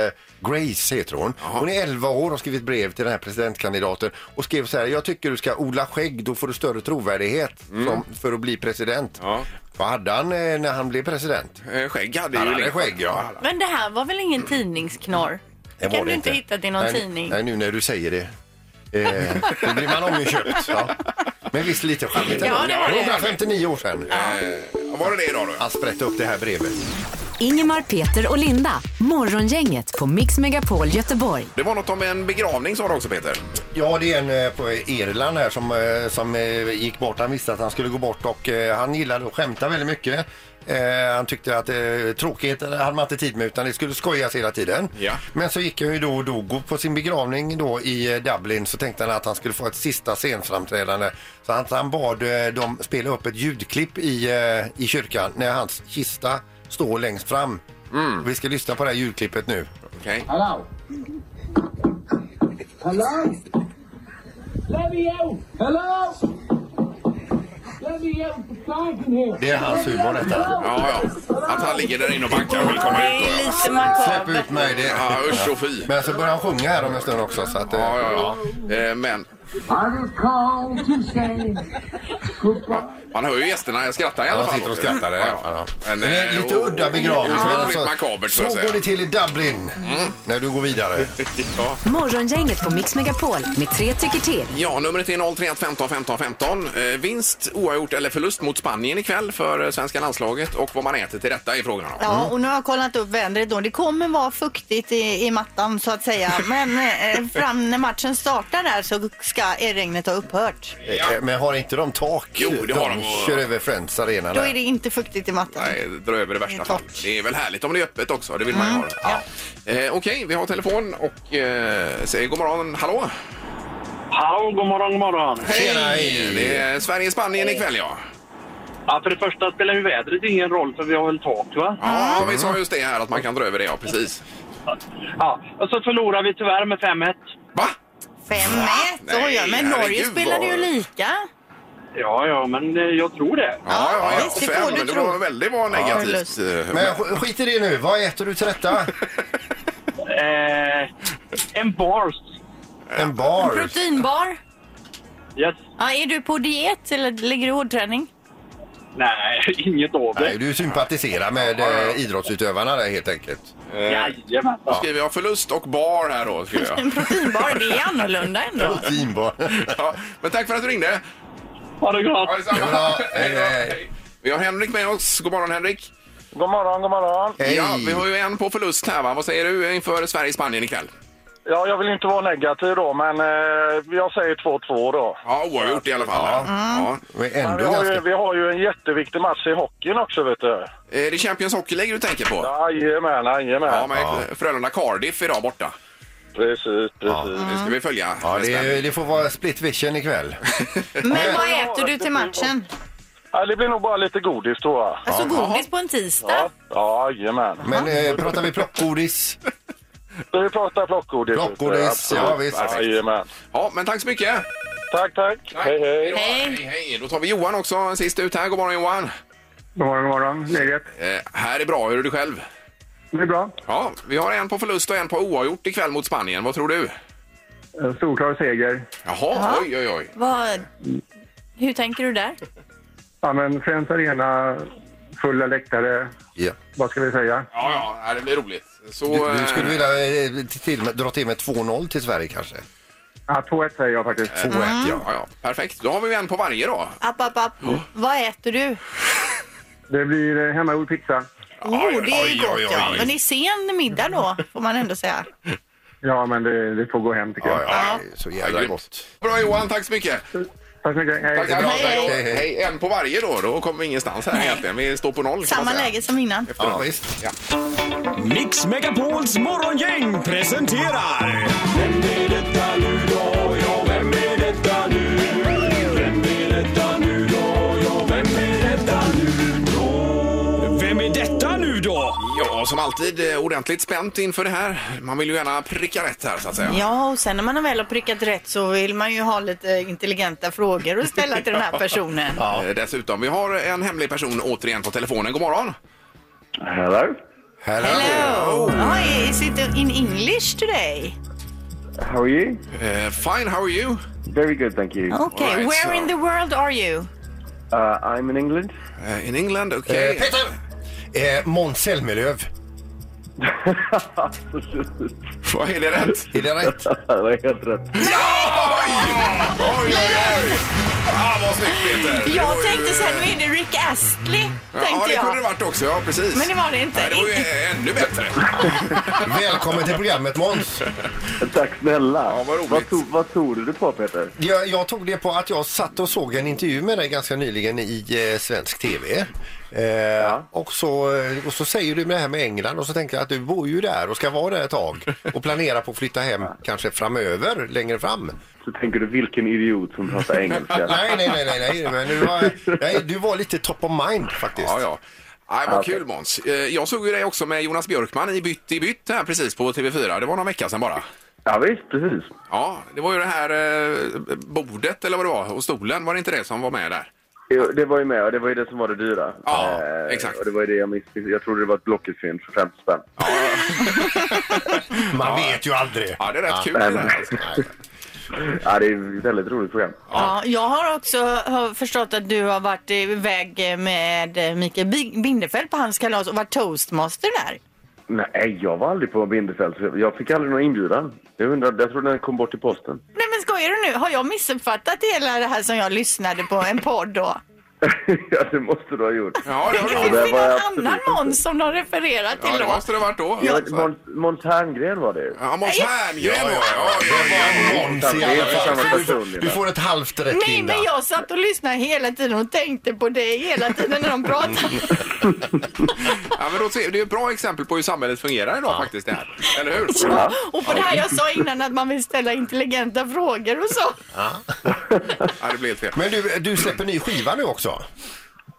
[SPEAKER 2] eh, Grace heter hon. Hon är 11 år och har skrivit brev till den här presidentkandidaten och skrev så här. Jag tycker du ska odla skägg. Då får du större trovärdighet som, för att bli president.
[SPEAKER 1] Mm. Ja.
[SPEAKER 2] Vad hade han eh, när han blev president?
[SPEAKER 1] Eh, Skägg hade
[SPEAKER 2] Han
[SPEAKER 1] ju
[SPEAKER 2] hade
[SPEAKER 1] Lincoln.
[SPEAKER 2] skägg, ja.
[SPEAKER 3] Men det här var väl ingen tidningsknorr?
[SPEAKER 2] Det var
[SPEAKER 3] kan
[SPEAKER 2] det
[SPEAKER 3] du inte hitta det i någon
[SPEAKER 2] nej,
[SPEAKER 3] tidning?
[SPEAKER 2] Nej, nu när du säger det. Eh, då blir man omköpt. Ja. Men visst lite charmigt ändå.
[SPEAKER 3] Ja, det var det.
[SPEAKER 2] 159 år sedan.
[SPEAKER 1] Eh, Var det det idag då?
[SPEAKER 2] Han sprätte upp det här brevet.
[SPEAKER 4] Ingemar, Peter och Linda. Morgongänget på Mix Megapol Göteborg.
[SPEAKER 1] Det var något om en begravning sa du också Peter.
[SPEAKER 2] Ja, det är en eh, på Irland här som, eh, som eh, gick bort. Han visste att han skulle gå bort och eh, han gillade att skämta väldigt mycket. Eh, han tyckte att eh, tråkigheter hade man inte tid med utan det skulle skojas hela tiden.
[SPEAKER 1] Ja.
[SPEAKER 2] Men så gick han ju då och dog och på sin begravning då i eh, Dublin så tänkte han att han skulle få ett sista scenframträdande. Så han, han bad eh, dem spela upp ett ljudklipp i, eh, i kyrkan när hans kista står längst fram. Vi ska lyssna på det här ljudklippet nu.
[SPEAKER 1] Okej.
[SPEAKER 8] Hello. Hello. Let me out. Hello. Let me out. I can hear.
[SPEAKER 2] Det är hans humor detta.
[SPEAKER 1] Ja, ja. Att han ligger där inne och bankar och vill komma ut. och-
[SPEAKER 3] lite
[SPEAKER 2] Släpp ut mig. Det
[SPEAKER 1] Ja, usch och fy.
[SPEAKER 2] Men så börjar han sjunga här om en stund också. Så att, eh,
[SPEAKER 1] Ja, ja, ja. Eh, Men
[SPEAKER 8] I was called to say goodbye.
[SPEAKER 1] man hör ju gästerna jag skrattar i alla
[SPEAKER 2] Han
[SPEAKER 1] fall.
[SPEAKER 2] sitter och skrattar. där.
[SPEAKER 1] Ja, ja.
[SPEAKER 2] Ja, ja.
[SPEAKER 1] Men,
[SPEAKER 2] Men det är
[SPEAKER 1] eh,
[SPEAKER 2] lite
[SPEAKER 1] och-
[SPEAKER 2] udda begravning.
[SPEAKER 1] Ja,
[SPEAKER 2] men alltså,
[SPEAKER 1] det är makabert
[SPEAKER 2] så
[SPEAKER 1] så att
[SPEAKER 2] går det
[SPEAKER 1] säga. Mm.
[SPEAKER 2] till i Dublin när du går vidare.
[SPEAKER 1] Ja.
[SPEAKER 4] Morgongänget på Mix Megapol med tre tycker till.
[SPEAKER 1] Ja, numret är 031 15 15 15. Eh, vinst, oavgjort eller förlust mot Spanien ikväll för eh, svenska landslaget och vad man äter till detta är frågan om.
[SPEAKER 2] Mm.
[SPEAKER 3] Ja, och nu har jag kollat upp vädret då. Det kommer vara fuktigt i, i mattan så att säga. Men eh, fram när matchen startar där så ska regnet ha upphört.
[SPEAKER 2] Eh, Men har inte de tak?
[SPEAKER 1] Jo, det har de.
[SPEAKER 2] kör över Friends Arena
[SPEAKER 3] Då är det
[SPEAKER 2] där.
[SPEAKER 3] inte fuktigt i mattan.
[SPEAKER 1] Nej, Eh, dra över det värsta
[SPEAKER 3] Det är Mm,
[SPEAKER 1] fallet.
[SPEAKER 3] torrt.
[SPEAKER 1] Det är väl härligt om det är öppet också, det vill man ju ha. det. Ja. Eh, Okej, vi har telefon och eh, säger god morgon. Hallå!
[SPEAKER 9] Hallå, god morgon, god morgon.
[SPEAKER 2] Tjena, hej.
[SPEAKER 1] Det är Sverige-Spanien ikväll ja.
[SPEAKER 9] Ja, för det första spelar ju vädret ingen roll för vi har väl tak va?
[SPEAKER 1] Ja, vi sa just det här att man kan dra över det ja, precis.
[SPEAKER 9] Ja, och så förlorar vi tyvärr med 5-1.
[SPEAKER 1] Va?
[SPEAKER 3] 5-1,
[SPEAKER 1] Nej,
[SPEAKER 3] oj, ja, men Norge
[SPEAKER 1] herregud,
[SPEAKER 3] spelade ju
[SPEAKER 1] vad-
[SPEAKER 3] lika.
[SPEAKER 9] Ja, ja, men eh, jag tror det.
[SPEAKER 1] Ja, ja, ja.
[SPEAKER 3] visst, det
[SPEAKER 1] Fem,
[SPEAKER 3] får du
[SPEAKER 1] men det
[SPEAKER 3] tro.
[SPEAKER 1] var väldigt var negativt.
[SPEAKER 3] förlust.
[SPEAKER 1] eh,
[SPEAKER 2] Men sk- skit i det nu. Vad äter du till detta?
[SPEAKER 9] Eh, en bars.
[SPEAKER 2] En bar.
[SPEAKER 3] Proteinbar.
[SPEAKER 9] Yes.
[SPEAKER 3] Ja, är du på diet eller ligger du i hårdträning?
[SPEAKER 9] Nej, inget av
[SPEAKER 2] Nej,
[SPEAKER 9] det.
[SPEAKER 2] du sympatiserar med eh, idrottsutövarna där helt enkelt.
[SPEAKER 9] Eh, Jajamän.
[SPEAKER 1] Då skriver jag förlust och bar här då. Skriver jag.
[SPEAKER 3] Proteinbar, det är annorlunda ändå.
[SPEAKER 2] Finbar.
[SPEAKER 1] Ja, men tack för att du ringde.
[SPEAKER 9] Ha det gott!
[SPEAKER 1] Ja, detsamma.
[SPEAKER 2] Ja, hej,
[SPEAKER 1] då,
[SPEAKER 2] hej.
[SPEAKER 1] Vi har Henrik med oss. God morgon Henrik.
[SPEAKER 7] God morgon, god morgon.
[SPEAKER 2] Hej.
[SPEAKER 1] Ja, vi har ju en på förlust här va. Vad säger du inför Sverige-Spanien ikväll?
[SPEAKER 7] Ja, jag vill inte vara negativ då, men eh, jag säger 2-2 då.
[SPEAKER 1] Ja, oavgjort i alla fall. Ja.
[SPEAKER 2] Men
[SPEAKER 1] Mm,
[SPEAKER 7] Men vi,
[SPEAKER 2] ändå
[SPEAKER 7] har ju,
[SPEAKER 2] ganska...
[SPEAKER 7] vi har ju en jätteviktig match i hockeyn också, vet du.
[SPEAKER 1] Är Eh, det Champions Hockey League du tänker på?
[SPEAKER 7] Jajamän, jajamän.
[SPEAKER 1] Ja, men Frölunda-Cardiff idag borta.
[SPEAKER 7] Precis, precis.
[SPEAKER 1] Det ska vi följa.
[SPEAKER 2] Mm. Ja,
[SPEAKER 1] med
[SPEAKER 2] det,
[SPEAKER 1] spänning.
[SPEAKER 2] är- det får vara split vision ikväll.
[SPEAKER 3] Men vad äter du till matchen?
[SPEAKER 7] Ja, det blir nog bara lite godis tror jag.
[SPEAKER 3] Alltså godis på en tisdag?
[SPEAKER 7] Ja, ja jajamän.
[SPEAKER 2] Men eh, pratar vi plockgodis?
[SPEAKER 7] Ska vi prata plockgodis?
[SPEAKER 2] Plockgodis,
[SPEAKER 7] vet du?
[SPEAKER 2] ja, visst.
[SPEAKER 7] Jajamän.
[SPEAKER 1] Ja, men tack så mycket.
[SPEAKER 7] Tack, tack. Hej, hej.
[SPEAKER 1] Hej. hej, hej. Då tar vi Johan också sist ut här. God morgon Johan.
[SPEAKER 9] God morgon, god morgon. Läget?
[SPEAKER 1] Eh, här är bra. Hur är du själv?
[SPEAKER 9] Det är bra.
[SPEAKER 1] Ja, vi har en på förlust och en på oavgjort ikväll mot Spanien. Vad tror du?
[SPEAKER 9] Eh, Solklar seger.
[SPEAKER 1] Jaha, oj, oj, oj.
[SPEAKER 3] Vad... Hur tänker du där?
[SPEAKER 9] Ja, men Friends Arena, fulla läktare.
[SPEAKER 2] Ja.
[SPEAKER 9] Vad ska vi säga?
[SPEAKER 1] Ja, ja, nej, det blir roligt. Så,
[SPEAKER 2] Du, du skulle
[SPEAKER 1] eh,
[SPEAKER 2] vilja eh, till, till, dra till med 2-0 till Sverige kanske?
[SPEAKER 9] Ja, 2-1 säger jag faktiskt.
[SPEAKER 2] 2-1 ja.
[SPEAKER 1] Mm. Ja, ja, perfekt. Då har vi en på varje då.
[SPEAKER 3] App, app, app. Vad äter du?
[SPEAKER 9] Det blir eh, hemmagjord pizza.
[SPEAKER 3] Oh, det är ju
[SPEAKER 1] oj,
[SPEAKER 3] gott
[SPEAKER 1] oj, oj.
[SPEAKER 3] ja. Men det är sen middag då, får man ändå säga.
[SPEAKER 9] Ja, men det, det får gå hem tycker
[SPEAKER 2] Ja,
[SPEAKER 9] jag.
[SPEAKER 2] ja, det är så
[SPEAKER 1] Ja,
[SPEAKER 2] jävla
[SPEAKER 1] grymt.
[SPEAKER 2] gott.
[SPEAKER 1] Bra Johan, tack så mycket.
[SPEAKER 9] Tack så mycket. Hej.
[SPEAKER 1] Tack, tack, tack,
[SPEAKER 3] Hej,
[SPEAKER 1] hej. hej. En på varje då. Då kommer vi ingenstans här egentligen. Vi står på noll kan
[SPEAKER 3] Samma
[SPEAKER 1] man säga.
[SPEAKER 3] läge som innan.
[SPEAKER 2] Ja, visst.
[SPEAKER 1] Ja.
[SPEAKER 10] Mix Megapols morgongäng presenterar... Vem är detta nu då? Ja, vem är detta nu? Vem är detta nu då? Ja, vem är detta nu då? Vem är detta nu då?
[SPEAKER 1] Ja, som alltid eh, ordentligt spänt inför det här. Man vill ju gärna pricka rätt här så att säga.
[SPEAKER 3] Ja, och sen när man väl har prickat rätt så vill man ju ha lite intelligenta frågor att ställa till den här personen.
[SPEAKER 1] Eh, Dessutom, vi har en hemlig person återigen på telefonen. God morgon!
[SPEAKER 9] Hello?
[SPEAKER 2] Hello.
[SPEAKER 3] Hello! Oh, is it in English today?
[SPEAKER 9] How are you?
[SPEAKER 1] Eh, fine, how are you?
[SPEAKER 9] Very good, thank you.
[SPEAKER 3] Okay,
[SPEAKER 1] All right,
[SPEAKER 3] where
[SPEAKER 1] so-
[SPEAKER 3] in the world are you?
[SPEAKER 9] Uh, I'm in England.
[SPEAKER 1] Eh, in England,
[SPEAKER 2] Eh,
[SPEAKER 1] okej.
[SPEAKER 2] Peter! Eh, Måns Zelmerlöw.
[SPEAKER 1] Vad är det rätt?
[SPEAKER 2] Är det rätt?
[SPEAKER 9] det är helt rätt.
[SPEAKER 1] Oj! Oj, oj, oj! Ah, vad snyggt Peter! Det var
[SPEAKER 3] Jag
[SPEAKER 1] ju,
[SPEAKER 3] tänkte så här,
[SPEAKER 1] eh,
[SPEAKER 3] nu är det Rick Astley,
[SPEAKER 1] Ja,
[SPEAKER 3] tänkte
[SPEAKER 1] det kunde
[SPEAKER 3] jag.
[SPEAKER 1] det varit också. Ja, precis.
[SPEAKER 3] Men det var det
[SPEAKER 1] Nej,
[SPEAKER 3] inte.
[SPEAKER 1] det var ju eh, ännu bättre.
[SPEAKER 2] Välkommen till programmet Måns.
[SPEAKER 9] Tack snälla.
[SPEAKER 1] Ja, vad roligt. Vad tog-
[SPEAKER 9] du på Peter?
[SPEAKER 2] Jag, jag tog det på att jag satt och såg en intervju med dig ganska nyligen i eh, svensk tv. Eh, och, så, eh, och så säger du det här med England och så tänker jag att du bor ju där och ska vara där ett tag och planerar på att flytta hem kanske framöver, längre fram.
[SPEAKER 9] Så tänker du vilken idiot som pratar engelska.
[SPEAKER 2] Nej, nej, nej, nej, nej, men du var, nej, du var lite top of mind faktiskt.
[SPEAKER 1] Ja, ja. Nej, vad kul Måns. Eh, Jag såg ju dig också med Jonas Björkman i Bytt i bytt här precis på TV4. Det var någon vecka sedan bara.
[SPEAKER 9] ja visst, precis.
[SPEAKER 1] Ja, det var ju det här eh, bordet eller vad det var och stolen, var det inte det som var med där?
[SPEAKER 9] Jo, Det var ju med och det var ju det som var det dyra. Eh,
[SPEAKER 1] Ja, exakt.
[SPEAKER 9] Och det var ju det jag misstänkte. Jag trodde det var ett Blocket-fynd för 50 spänn.
[SPEAKER 2] Man vet ju aldrig.
[SPEAKER 1] Ja, det är rätt kul
[SPEAKER 9] nej,
[SPEAKER 1] det där.
[SPEAKER 9] nej.
[SPEAKER 1] alltså.
[SPEAKER 9] Ja, det är ett väldigt roligt program.
[SPEAKER 3] Ja, jag har också har förstått att du har varit iväg med Mikael Bi- Bindefeld på hans kalas och varit toastmaster där.
[SPEAKER 9] Nej, jag var aldrig på Bindefeld. Jag fick aldrig någon inbjudan. Jag undrar, jag trodde den kom bort i posten.
[SPEAKER 3] Nej men skojar du nu? Har jag missuppfattat hela det här som jag lyssnade på en podd då?
[SPEAKER 9] ja, det måste du ha gjort.
[SPEAKER 1] Ja, det har
[SPEAKER 3] Det
[SPEAKER 1] du råd.
[SPEAKER 3] finns
[SPEAKER 9] Ja, det
[SPEAKER 3] ju
[SPEAKER 9] var jag
[SPEAKER 3] någon
[SPEAKER 9] absolut
[SPEAKER 3] annan
[SPEAKER 9] inte.
[SPEAKER 3] Måns som de refererar till
[SPEAKER 1] Ja, det
[SPEAKER 3] då.
[SPEAKER 1] måste det ha varit då. Alltså.
[SPEAKER 9] Jag vet, Måns- Måns Herngren var det ju.
[SPEAKER 1] Ja, Måns Herngren var det. Ja, ja, ja, ja.
[SPEAKER 2] Måns i alla fall.
[SPEAKER 9] Samma
[SPEAKER 2] Du
[SPEAKER 9] person,
[SPEAKER 2] får- Du
[SPEAKER 9] Linda.
[SPEAKER 2] får ett halvt rätt
[SPEAKER 3] Nej
[SPEAKER 2] Linda.
[SPEAKER 3] men jag satt och lyssnade hela tiden och tänkte på dig hela tiden när de pratade.
[SPEAKER 9] Mm.
[SPEAKER 1] Ja, men då ser, det är ett bra exempel på hur samhället fungerar idag faktiskt det här. Eller hur?
[SPEAKER 3] Ja, och på det här jag sa innan att man vill ställa intelligenta frågor och så.
[SPEAKER 1] Ja, det blir helt fel.
[SPEAKER 2] Men du, du släpper ny skiva nu också.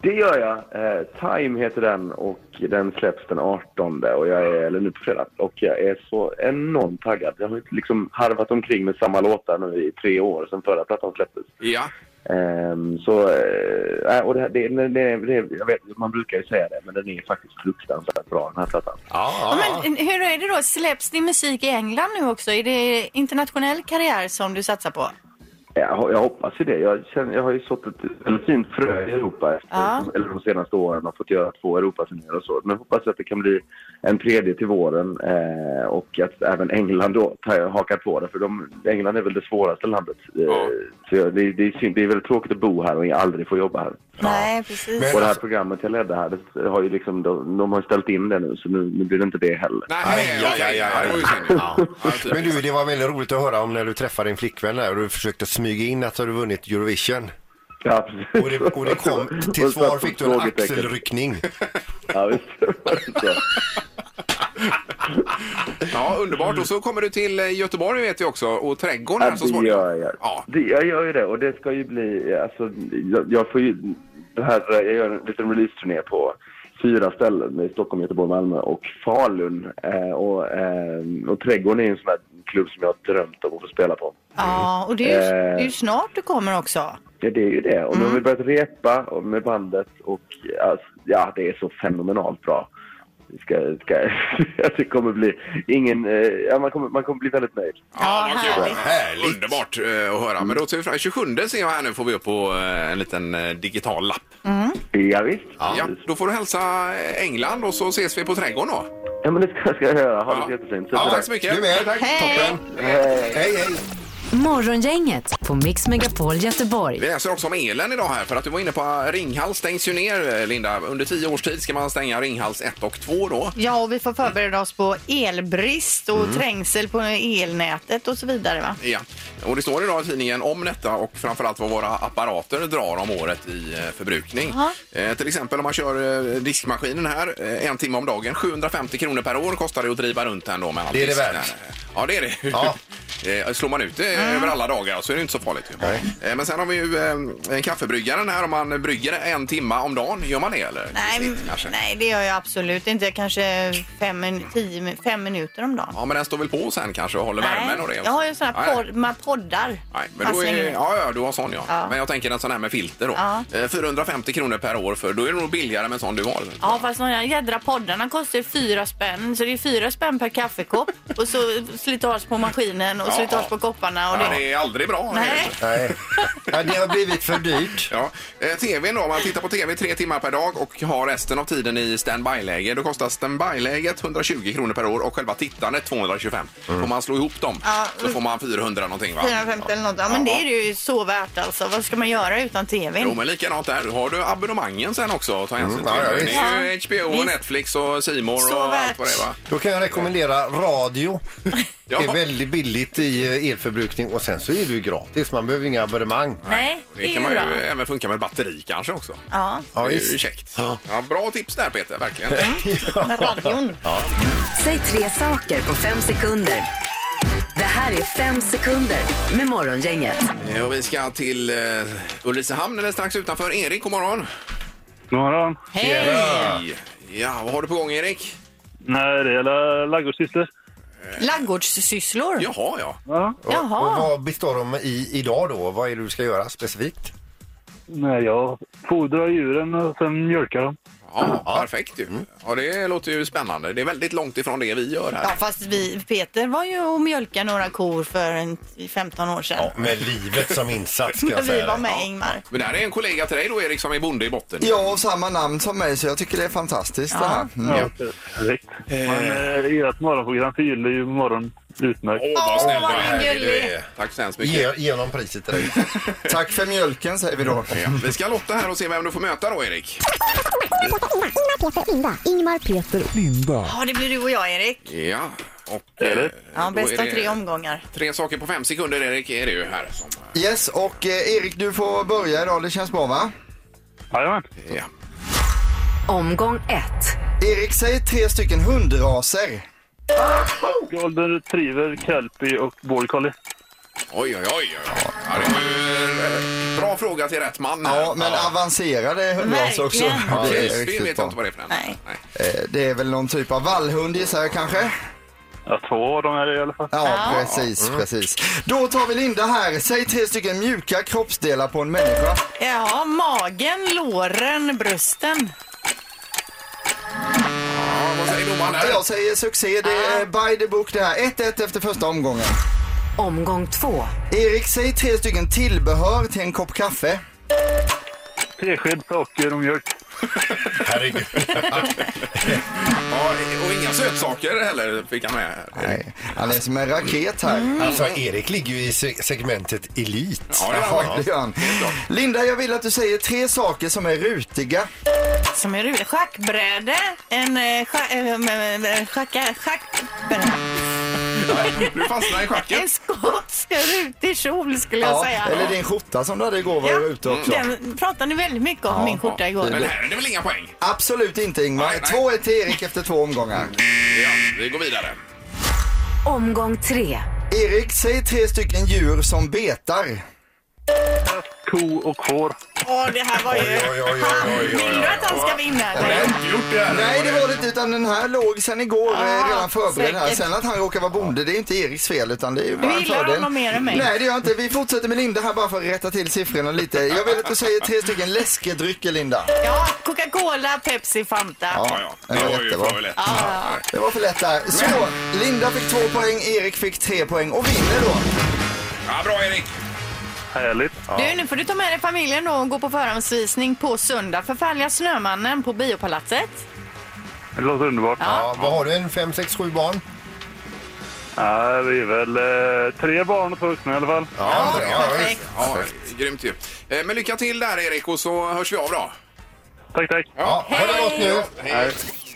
[SPEAKER 9] Det gör jag. Eh, Time heter den och den släpps den 18 och jag är, eller nu på fredag. Och jag är så enormt taggad. Jag har ju liksom harvat omkring med samma låtar nu i tre år sedan förra plattan släpptes.
[SPEAKER 1] Ja,
[SPEAKER 9] Ehm, så, eh, äh, och det, här- det, det, det, det, jag vet, man brukar ju säga det, men den är faktiskt fruktansvärt bra den här plattan.
[SPEAKER 2] Ja, ja.
[SPEAKER 3] Men eh, hur är det då? Släpps din musik i England nu också? Är det internationell karriär som du satsar på?
[SPEAKER 9] Jag, jag hoppas ju det. Jag, känner, jag har ju sått ett väldigt fint frö i Europa efter,
[SPEAKER 3] Ja.
[SPEAKER 9] eller de senaste åren och fått göra två Europaturnéer och så. Nu hoppas jag att det kan bli en tredje till våren eh, och att även England då tar- hakar på det för de, England är väl det svåraste landet. Eh, Så jag, det, det, är synd, det är väldigt tråkigt att bo här och aldrig få jobba här.
[SPEAKER 3] Nej, precis.
[SPEAKER 9] och det här programmet jag ledde här, det har ju liksom, de, de har ju ställt in det nu så nu, nu blir det inte det heller.
[SPEAKER 2] Aj, aj, aj, aj. Men du, det var väldigt roligt att höra om när du träffade din flickvän där och du försökte smyga in att du hade vunnit Eurovision.
[SPEAKER 9] Ja,
[SPEAKER 2] och, det, och det kom, till
[SPEAKER 9] Och satt
[SPEAKER 2] svar
[SPEAKER 9] ett
[SPEAKER 2] fick du en
[SPEAKER 9] frågetecken.
[SPEAKER 2] axelryckning.
[SPEAKER 9] Ja, visst.
[SPEAKER 1] Ja, underbart. Och så kommer du till eh, Göteborg vet jag också och trädgården här
[SPEAKER 9] Mm. Ja,
[SPEAKER 1] så
[SPEAKER 9] det
[SPEAKER 1] småningom.
[SPEAKER 9] gör jag. Det, jag gör ju det och det ska ju bli, alltså, jag, jag får ju, det här, jag gör en liten release-turné på fyra ställen i Stockholm, Göteborg, Malmö och Falun. Eh, och, eh, och Trädgården är ju en sån här klubb som jag har drömt om att få spela på.
[SPEAKER 3] Ja, och det är, ju,
[SPEAKER 9] Eh.
[SPEAKER 3] det är ju snart du kommer också.
[SPEAKER 9] Ja, det är ju det. Och nu har
[SPEAKER 1] Mm.
[SPEAKER 9] vi börjat repa och med bandet och alltså, ja, det är så fenomenalt bra. Vi Ska, ska, det kommer bli ingen, eh, ja, man, kommer, man kommer bli väldigt nöjd.
[SPEAKER 1] Ja, vad kul. Underbart eh, att höra. Men då ser vi fram 27 ser jag här nu får vi upp på eh, en liten eh, digital lapp.
[SPEAKER 9] Ja, visst.
[SPEAKER 1] Ja. då får du hälsa eh, England och så ses vi på trädgården då.
[SPEAKER 9] Ja, men det ska, ska jag göra. Ha det jättefint.
[SPEAKER 1] Ja, tack så mycket.
[SPEAKER 2] Du med.
[SPEAKER 1] Hej.
[SPEAKER 9] Hej.
[SPEAKER 2] Hej, hej.
[SPEAKER 4] Morgongänget på Mix Megapol Göteborg.
[SPEAKER 1] Vi läser också om elen idag här för att du var inne på att Ringhals stängs ju ner eh, Linda. Under tio års tid ska man stänga Ringhals 1 och 2 då.
[SPEAKER 3] Ja, och vi får förbereda oss på elbrist
[SPEAKER 1] Mm.
[SPEAKER 3] och trängsel på elnätet och så vidare. Va?
[SPEAKER 1] Ja, och det står idag i tidningen om detta och framförallt vad våra apparater drar om året i eh, förbrukning.
[SPEAKER 3] Jaha.
[SPEAKER 1] Eh, till exempel om man kör eh, diskmaskinen här eh, en timme om dagen. 750 kronor per år kostar det att driva runt den då med all
[SPEAKER 2] Det är det
[SPEAKER 1] disk. Eh,
[SPEAKER 2] värt.
[SPEAKER 1] Ja, det är det.
[SPEAKER 2] Ja.
[SPEAKER 1] Eh, Slår man ut det över alla dagar så är det inte så farligt. ju. Eh, Men sen har vi ju eh, en kaffebryggaren här om man brygger en timma om dagen. Gör man det eller?
[SPEAKER 3] Nej,
[SPEAKER 1] Snitt,
[SPEAKER 3] men-
[SPEAKER 1] kanske.
[SPEAKER 3] nej, det gör jag absolut inte. Kanske fem, min- tio, min- fem minuter om dagen.
[SPEAKER 1] Ja, men den står väl på sen kanske och håller värmen och det.
[SPEAKER 3] nej, jag har ju såna
[SPEAKER 1] Nej.
[SPEAKER 3] här pod- med poddar.
[SPEAKER 1] Nej, men då
[SPEAKER 3] Fast
[SPEAKER 1] är,
[SPEAKER 3] längre.
[SPEAKER 1] ja, ja, du har sån ja.
[SPEAKER 3] Ja.
[SPEAKER 1] Men jag tänker en sån här med filter då.
[SPEAKER 3] Ja.
[SPEAKER 1] Eh, 450 kronor per år för då är det nog billigare med en sån du har.
[SPEAKER 3] Ja, fast de här jädra poddarna kostar ju fyra spänn. Så det är fyra spänn per kaffekopp. och så slitage på maskinen och
[SPEAKER 1] Ja,
[SPEAKER 3] slitage
[SPEAKER 1] ja.
[SPEAKER 3] på kopparna. Och
[SPEAKER 1] Ja,
[SPEAKER 3] det.
[SPEAKER 1] det är aldrig bra.
[SPEAKER 3] Nej.
[SPEAKER 2] Nej. Ja, det har blivit för dyrt.
[SPEAKER 1] Ja. Eh, TVn då, om man tittar på TV tre timmar per dag och har resten av tiden i standby-läge. Då kostar standby-läget 120 kronor per år och själva tittandet 225.
[SPEAKER 2] Mm.
[SPEAKER 1] Får man slå ihop dem
[SPEAKER 3] Ja.
[SPEAKER 1] så får man 400 någonting va?
[SPEAKER 3] 450 eller något. Ja, men det är ju så värt alltså. Vad ska man göra utan tvn?
[SPEAKER 1] Jo, men likadant där. Du Har du abonnemangen sen också att ta hänsyn
[SPEAKER 2] Mm, ja, ja,
[SPEAKER 1] till?
[SPEAKER 2] visst.
[SPEAKER 1] Det är ju HBO och Netflix och C More
[SPEAKER 3] Så
[SPEAKER 1] och allt
[SPEAKER 3] värt.
[SPEAKER 1] vad det är va?
[SPEAKER 2] Då kan jag rekommendera radio. Det
[SPEAKER 1] Ja.
[SPEAKER 2] är väldigt billigt i eh, elförbrukning och sen så är det ju gratis. Man behöver inga abonnemang.
[SPEAKER 3] Nej,
[SPEAKER 1] Det
[SPEAKER 3] det
[SPEAKER 1] kan
[SPEAKER 3] är
[SPEAKER 1] man
[SPEAKER 3] ju
[SPEAKER 1] ju
[SPEAKER 3] bra.
[SPEAKER 1] även funka med batteri kanske också.
[SPEAKER 3] Ja,
[SPEAKER 2] Ja,
[SPEAKER 1] det är ju
[SPEAKER 2] visst.
[SPEAKER 1] käckt. Eh, Ja. bra tips där Peter, verkligen.
[SPEAKER 3] med radion.
[SPEAKER 4] Säg tre saker på fem sekunder. Det här är fem sekunder med Morgongänget.
[SPEAKER 1] Eh, Och vi ska till uh, Ulricehamn eller strax utanför. Erik, god morgon.
[SPEAKER 7] God morgon.
[SPEAKER 3] Hej!
[SPEAKER 1] Hej. Ja, vad har du på gång Erik?
[SPEAKER 7] Nej, det gäller ladugårdssysslor.
[SPEAKER 3] Laggårdssysslor?
[SPEAKER 1] Jaha, ja.
[SPEAKER 7] Ja.
[SPEAKER 2] Och
[SPEAKER 3] Jaha.
[SPEAKER 2] vad består de i idag då? Vad är det du ska göra specifikt?
[SPEAKER 7] Nej, jag fodrar djuren och sen mjölkar dem.
[SPEAKER 1] Ja, perfekt ju. Ja, det låter ju spännande. Det är väldigt långt ifrån det vi gör
[SPEAKER 3] Ja,
[SPEAKER 1] här.
[SPEAKER 3] fast vi, Peter var ju och mjölkade några kor för en, 15 år sedan.
[SPEAKER 2] Med livet som insats ska
[SPEAKER 3] Men
[SPEAKER 2] jag
[SPEAKER 3] vi var
[SPEAKER 2] säga.
[SPEAKER 3] med Ingmar.
[SPEAKER 1] Men det här är en kollega till dig då Erik som är bonde i botten.
[SPEAKER 11] Ja, och samma namn som mig, så jag tycker det är fantastiskt det här. Mm.
[SPEAKER 7] Ja, perfekt. Men eh, ert morgonprogram förgyller ju morgon utmärkt.
[SPEAKER 1] Åh, vad snäll
[SPEAKER 3] vad
[SPEAKER 1] du är.
[SPEAKER 3] gullig.
[SPEAKER 1] Du är. Tack så hemskt mycket.
[SPEAKER 2] Ge, ge honom priset till dig.
[SPEAKER 11] Tack för mjölken säger vi då.
[SPEAKER 1] Ja, Vi ska lotta här och se vem du får möta då Erik.
[SPEAKER 3] Ja, det blir du och jag, Erik.
[SPEAKER 1] Ja, och... eh,
[SPEAKER 3] Ja,
[SPEAKER 1] då
[SPEAKER 3] bäst
[SPEAKER 1] är
[SPEAKER 3] av
[SPEAKER 1] det
[SPEAKER 3] tre omgångar.
[SPEAKER 1] Tre saker på fem sekunder Erik är det ju här. Som,
[SPEAKER 11] Yes, och eh, Erik du får börja idag, det känns bra va?
[SPEAKER 7] Jajamän.
[SPEAKER 1] eh, ja.
[SPEAKER 4] Omgång ett.
[SPEAKER 11] Erik, säg tre stycken hundraser.
[SPEAKER 7] Golden retriever, kelpie och border collie.
[SPEAKER 1] Oj, oj, oj. oj. Ja, det var ju eh, bra fråga till rätt man. här.
[SPEAKER 11] Ja, men avancerade hundraser också.
[SPEAKER 3] Verkligen.
[SPEAKER 11] Ja,
[SPEAKER 1] Det
[SPEAKER 11] det, är
[SPEAKER 1] vet
[SPEAKER 11] riktigt
[SPEAKER 1] jag
[SPEAKER 11] bra.
[SPEAKER 1] inte vad det är för en.
[SPEAKER 3] Nej.
[SPEAKER 11] Eh, det är väl någon typ av vallhund gissar jag kanske?
[SPEAKER 7] Ja, två av dem är det i alla fall.
[SPEAKER 11] Ja, precis, precis. Då tar vi Linda här. Säg tre stycken mjuka kroppsdelar på en människa.
[SPEAKER 3] Ja, magen, låren, brösten.
[SPEAKER 1] Ja, vad säger domaren
[SPEAKER 11] Ja,
[SPEAKER 1] där?
[SPEAKER 11] Jag säger succé, det är by the book det här. 1-1 efter första omgången.
[SPEAKER 4] Omgång två.
[SPEAKER 11] Erik, säg tre stycken tillbehör till en kopp kaffe.
[SPEAKER 7] Tesked socker och mjölk.
[SPEAKER 2] Herregud.
[SPEAKER 1] ja, och inga sötsaker heller fick han med.
[SPEAKER 11] Nej, han är som en raket här.
[SPEAKER 2] Alltså, Erik ligger ju i se- segmentet elit.
[SPEAKER 1] Ja, det
[SPEAKER 11] Ja, det gör han. Linda, jag vill att du säger tre saker som är rutiga.
[SPEAKER 3] Som är roligt. Schackbräde. En eh, scha- eh, m- m- schacka- schackbräde.
[SPEAKER 1] Du fastnade i schacket.
[SPEAKER 3] En skotsk rutig kjol skulle jag säga.
[SPEAKER 11] eller din skjorta som du hade igår var
[SPEAKER 3] Ja, Mm.
[SPEAKER 11] ju ute också.
[SPEAKER 3] Den pratade ni väldigt mycket om,
[SPEAKER 11] Ja,
[SPEAKER 3] min skjorta igår.
[SPEAKER 1] Men här är det väl inga poäng?
[SPEAKER 11] Absolut inte Ingmar.
[SPEAKER 1] Nej, nej.
[SPEAKER 11] Två är till Erik efter två omgångar.
[SPEAKER 1] Ja, vi går vidare.
[SPEAKER 4] Omgång tre.
[SPEAKER 11] Erik, säg tre stycken djur som betar.
[SPEAKER 7] Ko och får.
[SPEAKER 3] Åh, det här var ju...
[SPEAKER 2] Oj, oj, oj, oj, oj.
[SPEAKER 3] Vill du att han ska vinna? eller?
[SPEAKER 1] Gjort det här.
[SPEAKER 11] Nej, det var det inte, utan den här låg sen igår eh,
[SPEAKER 3] Ah,
[SPEAKER 11] redan förberedd här.
[SPEAKER 3] säkert.
[SPEAKER 11] Sen att han råkar vara bonde, det är inte Eriks fel, utan det är ju bara en
[SPEAKER 3] gillar
[SPEAKER 11] fördel.
[SPEAKER 3] honom mer än mig.
[SPEAKER 11] Nej, det gör jag inte. Vi fortsätter med Linda här bara för att rätta till siffrorna lite. Jag vill att du säger tre stycken läskedrycker, Linda.
[SPEAKER 3] Ja, Coca-Cola, Pepsi, Fanta.
[SPEAKER 1] Ja, ja. Det var ju för lätt.
[SPEAKER 3] Ja,
[SPEAKER 11] Det var för lätt där. Så, Linda fick två poäng, Erik fick tre poäng och vinner då.
[SPEAKER 1] Ja, bra Erik.
[SPEAKER 7] Härligt.
[SPEAKER 3] ja. Du, nu får du ta med dig familjen då och gå på förhandsvisning på söndag. Förfärliga Snömannen på Biopalatset.
[SPEAKER 7] Det låter underbart.
[SPEAKER 2] Ja, vad har du? En fem, sex, sju barn?
[SPEAKER 7] Ja, vi är väl eh, tre barn och två vuxna i alla fall.
[SPEAKER 2] Ja,
[SPEAKER 3] perfekt.
[SPEAKER 1] Ja, grymt ju. Eh, Men lycka till där Erik och så hörs vi av då.
[SPEAKER 7] Tack, tack.
[SPEAKER 2] Ja, ha det gott nu.
[SPEAKER 1] Hej.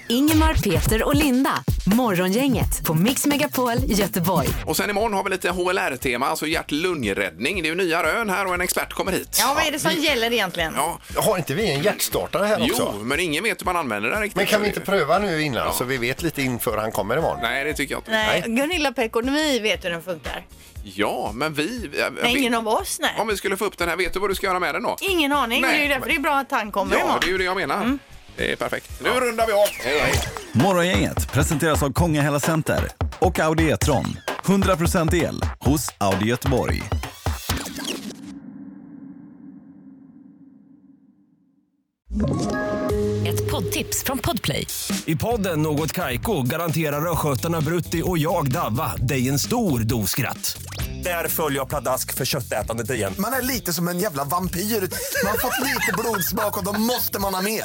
[SPEAKER 4] Ingemar, Peter och Linda. Morgongänget på Mix Megapol Göteborg.
[SPEAKER 1] Och sen imorgon har vi lite HLR-tema, alltså hjärt-lungräddning. Det är ju nya rön här och en expert kommer hit.
[SPEAKER 3] Ja, vad är det som gäller egentligen?
[SPEAKER 1] Ja.
[SPEAKER 2] Har inte vi en hjärtstartare här
[SPEAKER 1] Jo,
[SPEAKER 2] också?
[SPEAKER 1] men ingen vet hur man använder den riktigt.
[SPEAKER 2] Men kan vi inte pröva nu innan
[SPEAKER 1] Ja.
[SPEAKER 2] så vi vet lite inför han kommer imorgon?
[SPEAKER 1] Nej, det tycker jag inte.
[SPEAKER 3] Nej, Gunilla Pekonomi vet hur den funkar.
[SPEAKER 1] Ja, men vi...
[SPEAKER 3] Men ingen av oss, nej.
[SPEAKER 1] Om vi skulle få upp den här, vet du vad du ska göra med den då?
[SPEAKER 3] Ingen aning.
[SPEAKER 1] Nej.
[SPEAKER 3] Det är ju därför det är bra att han kommer
[SPEAKER 1] Ja,
[SPEAKER 3] imorgon.
[SPEAKER 1] det är ju det jag menar.
[SPEAKER 3] Mm.
[SPEAKER 1] Det är perfekt. Nu rundar vi av. Hej, hej.
[SPEAKER 12] Morgongänget presenteras av Kongahälla Center och Audi E-tron. 100% el hos Audi Göteborg.
[SPEAKER 13] Ett poddtips från Podplay.
[SPEAKER 10] I podden Något Kaiko garanterar östgötarna Brutti och jag, Davva, dig en stor dos skratt. Där följer jag pladask för köttätandet igen.
[SPEAKER 14] Man är lite som en jävla vampyr. Man har fått lite blodsmak och då måste man ha mer.